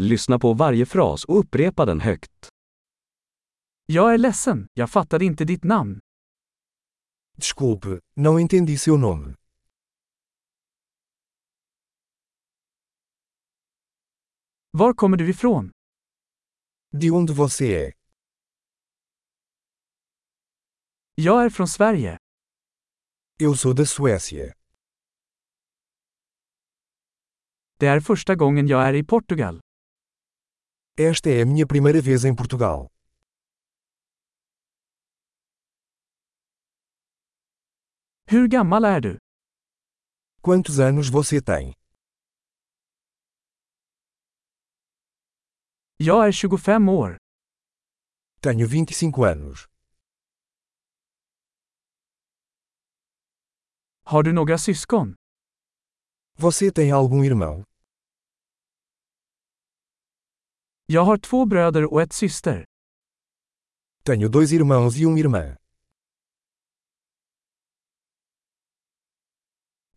Lyssna på varje fras och upprepa den högt. Jag är ledsen, jag fattade inte ditt namn. Desculpe, não entendi seu nome. Var kommer du ifrån? De onde você é? Jag är från Sverige. Eu sou da Suécia. Det är första gången jag är i Portugal. Esta é a minha primeira vez em Portugal. Hur gammal är du? Quantos anos você tem? Jag är 25 år. Tenho 25 anos. Har du några syskon? Você tem algum irmão? Jag har två bröder och ett syster. Tenho dois irmãos e uma irmã.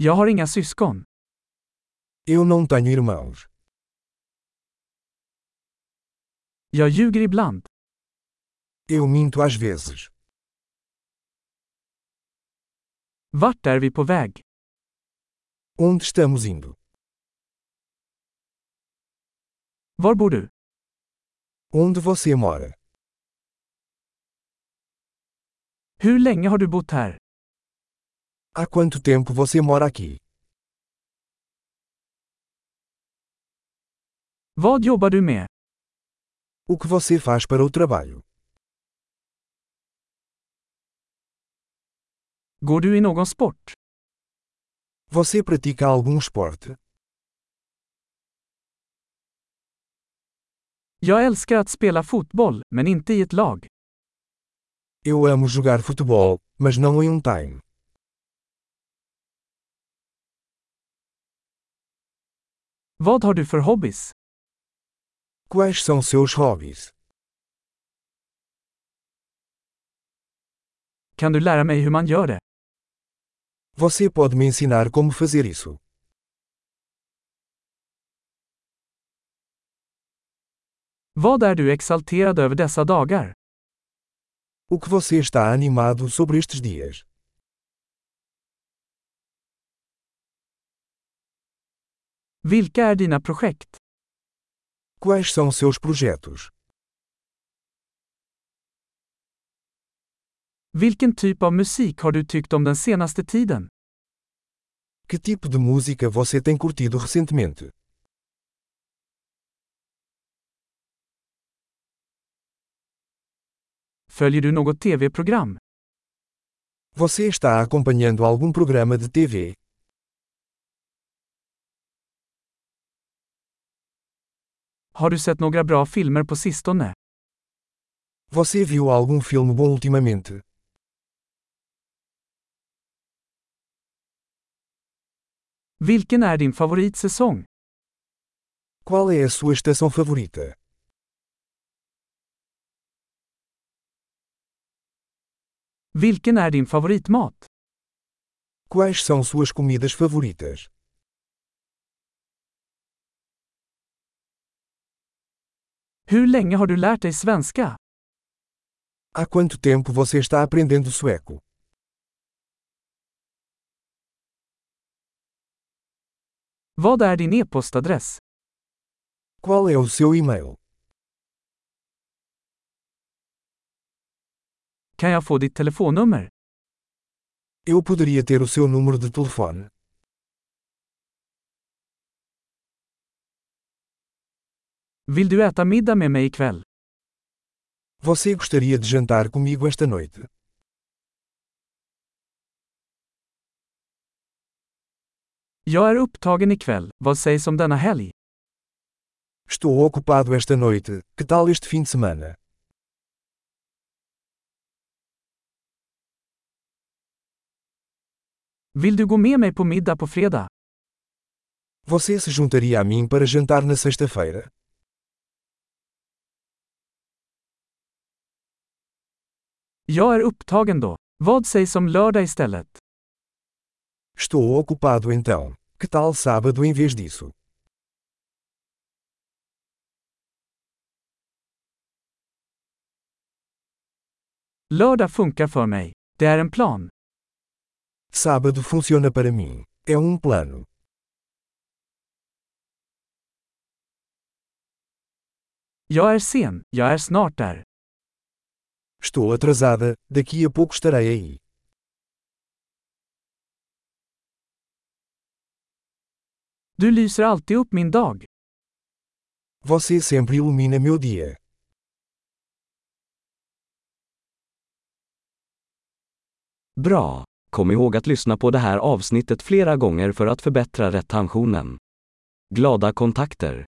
Jag har inga syskon. Eu não tenho irmãos. Jag ljuger ibland. Eu minto às vezes. Vart är vi på väg? Onde estamos indo? Var bor du? Onde você mora? Hur länge har du bott här? Há quanto tempo você mora aqui? Vad jobbar du med? O que você faz para o trabalho? Går du i någon sport? Você pratica algum esporte? Jag älskar att spela fotboll, men inte i ett lag. Eu amo jogar futebol, mas não em um time. Vad har du för hobbys? Quais são seus hobbies? Kan du lära mig hur man gör det? Você pode me ensinar como fazer isso? Vad är du exalterad över dessa dagar? O que você está animado sobre estes dias? Vilka är dina projekt? Quais são seus projetos? Vilken typ av musik har du tyckt om den senaste tiden? Que tipo de música você tem curtido recentemente? Följer du något tv-program? Você está acompanhando algum programa de TV? Har du sett några bra filmer på sistone? Você viu algum filme bom ultimamente? Vilken är din favoritsäsong? Qual é a sua estação favorita? Vilken är din favoritmat? Quais são suas comidas favoritas? Hur länge har du lärt dig svenska? Há quanto tempo você está aprendendo sueco? Vad är din e-postadress? Qual é o seu e-mail? Kan jag få ditt telefonnummer? Eu poderia ter o seu número de telefone? Vill du äta middag med mig ikväll? Você gostaria de jantar comigo esta noite? Jag är upptagen ikväll, vad sägs om denna helg? Estou ocupado esta noite, que tal este fim de semana? Vill du gå med mig på middag på fredag? Você se juntaria a mim para jantar na sexta-feira? Jag är upptagen då. Vad sägs om lördag istället? Estou ocupado então. Que tal sábado em vez disso? Lördag funkar för mig. Det är en plan. Sábado funciona para mim. É um plano. Jag är sen, jag är snart där. Estou atrasada, daqui a pouco estarei aí. Du lyser alltid upp min dag. Você sempre ilumina meu dia. Bra! Kom ihåg att lyssna på det här avsnittet flera gånger för att förbättra retentionen. Glada kontakter!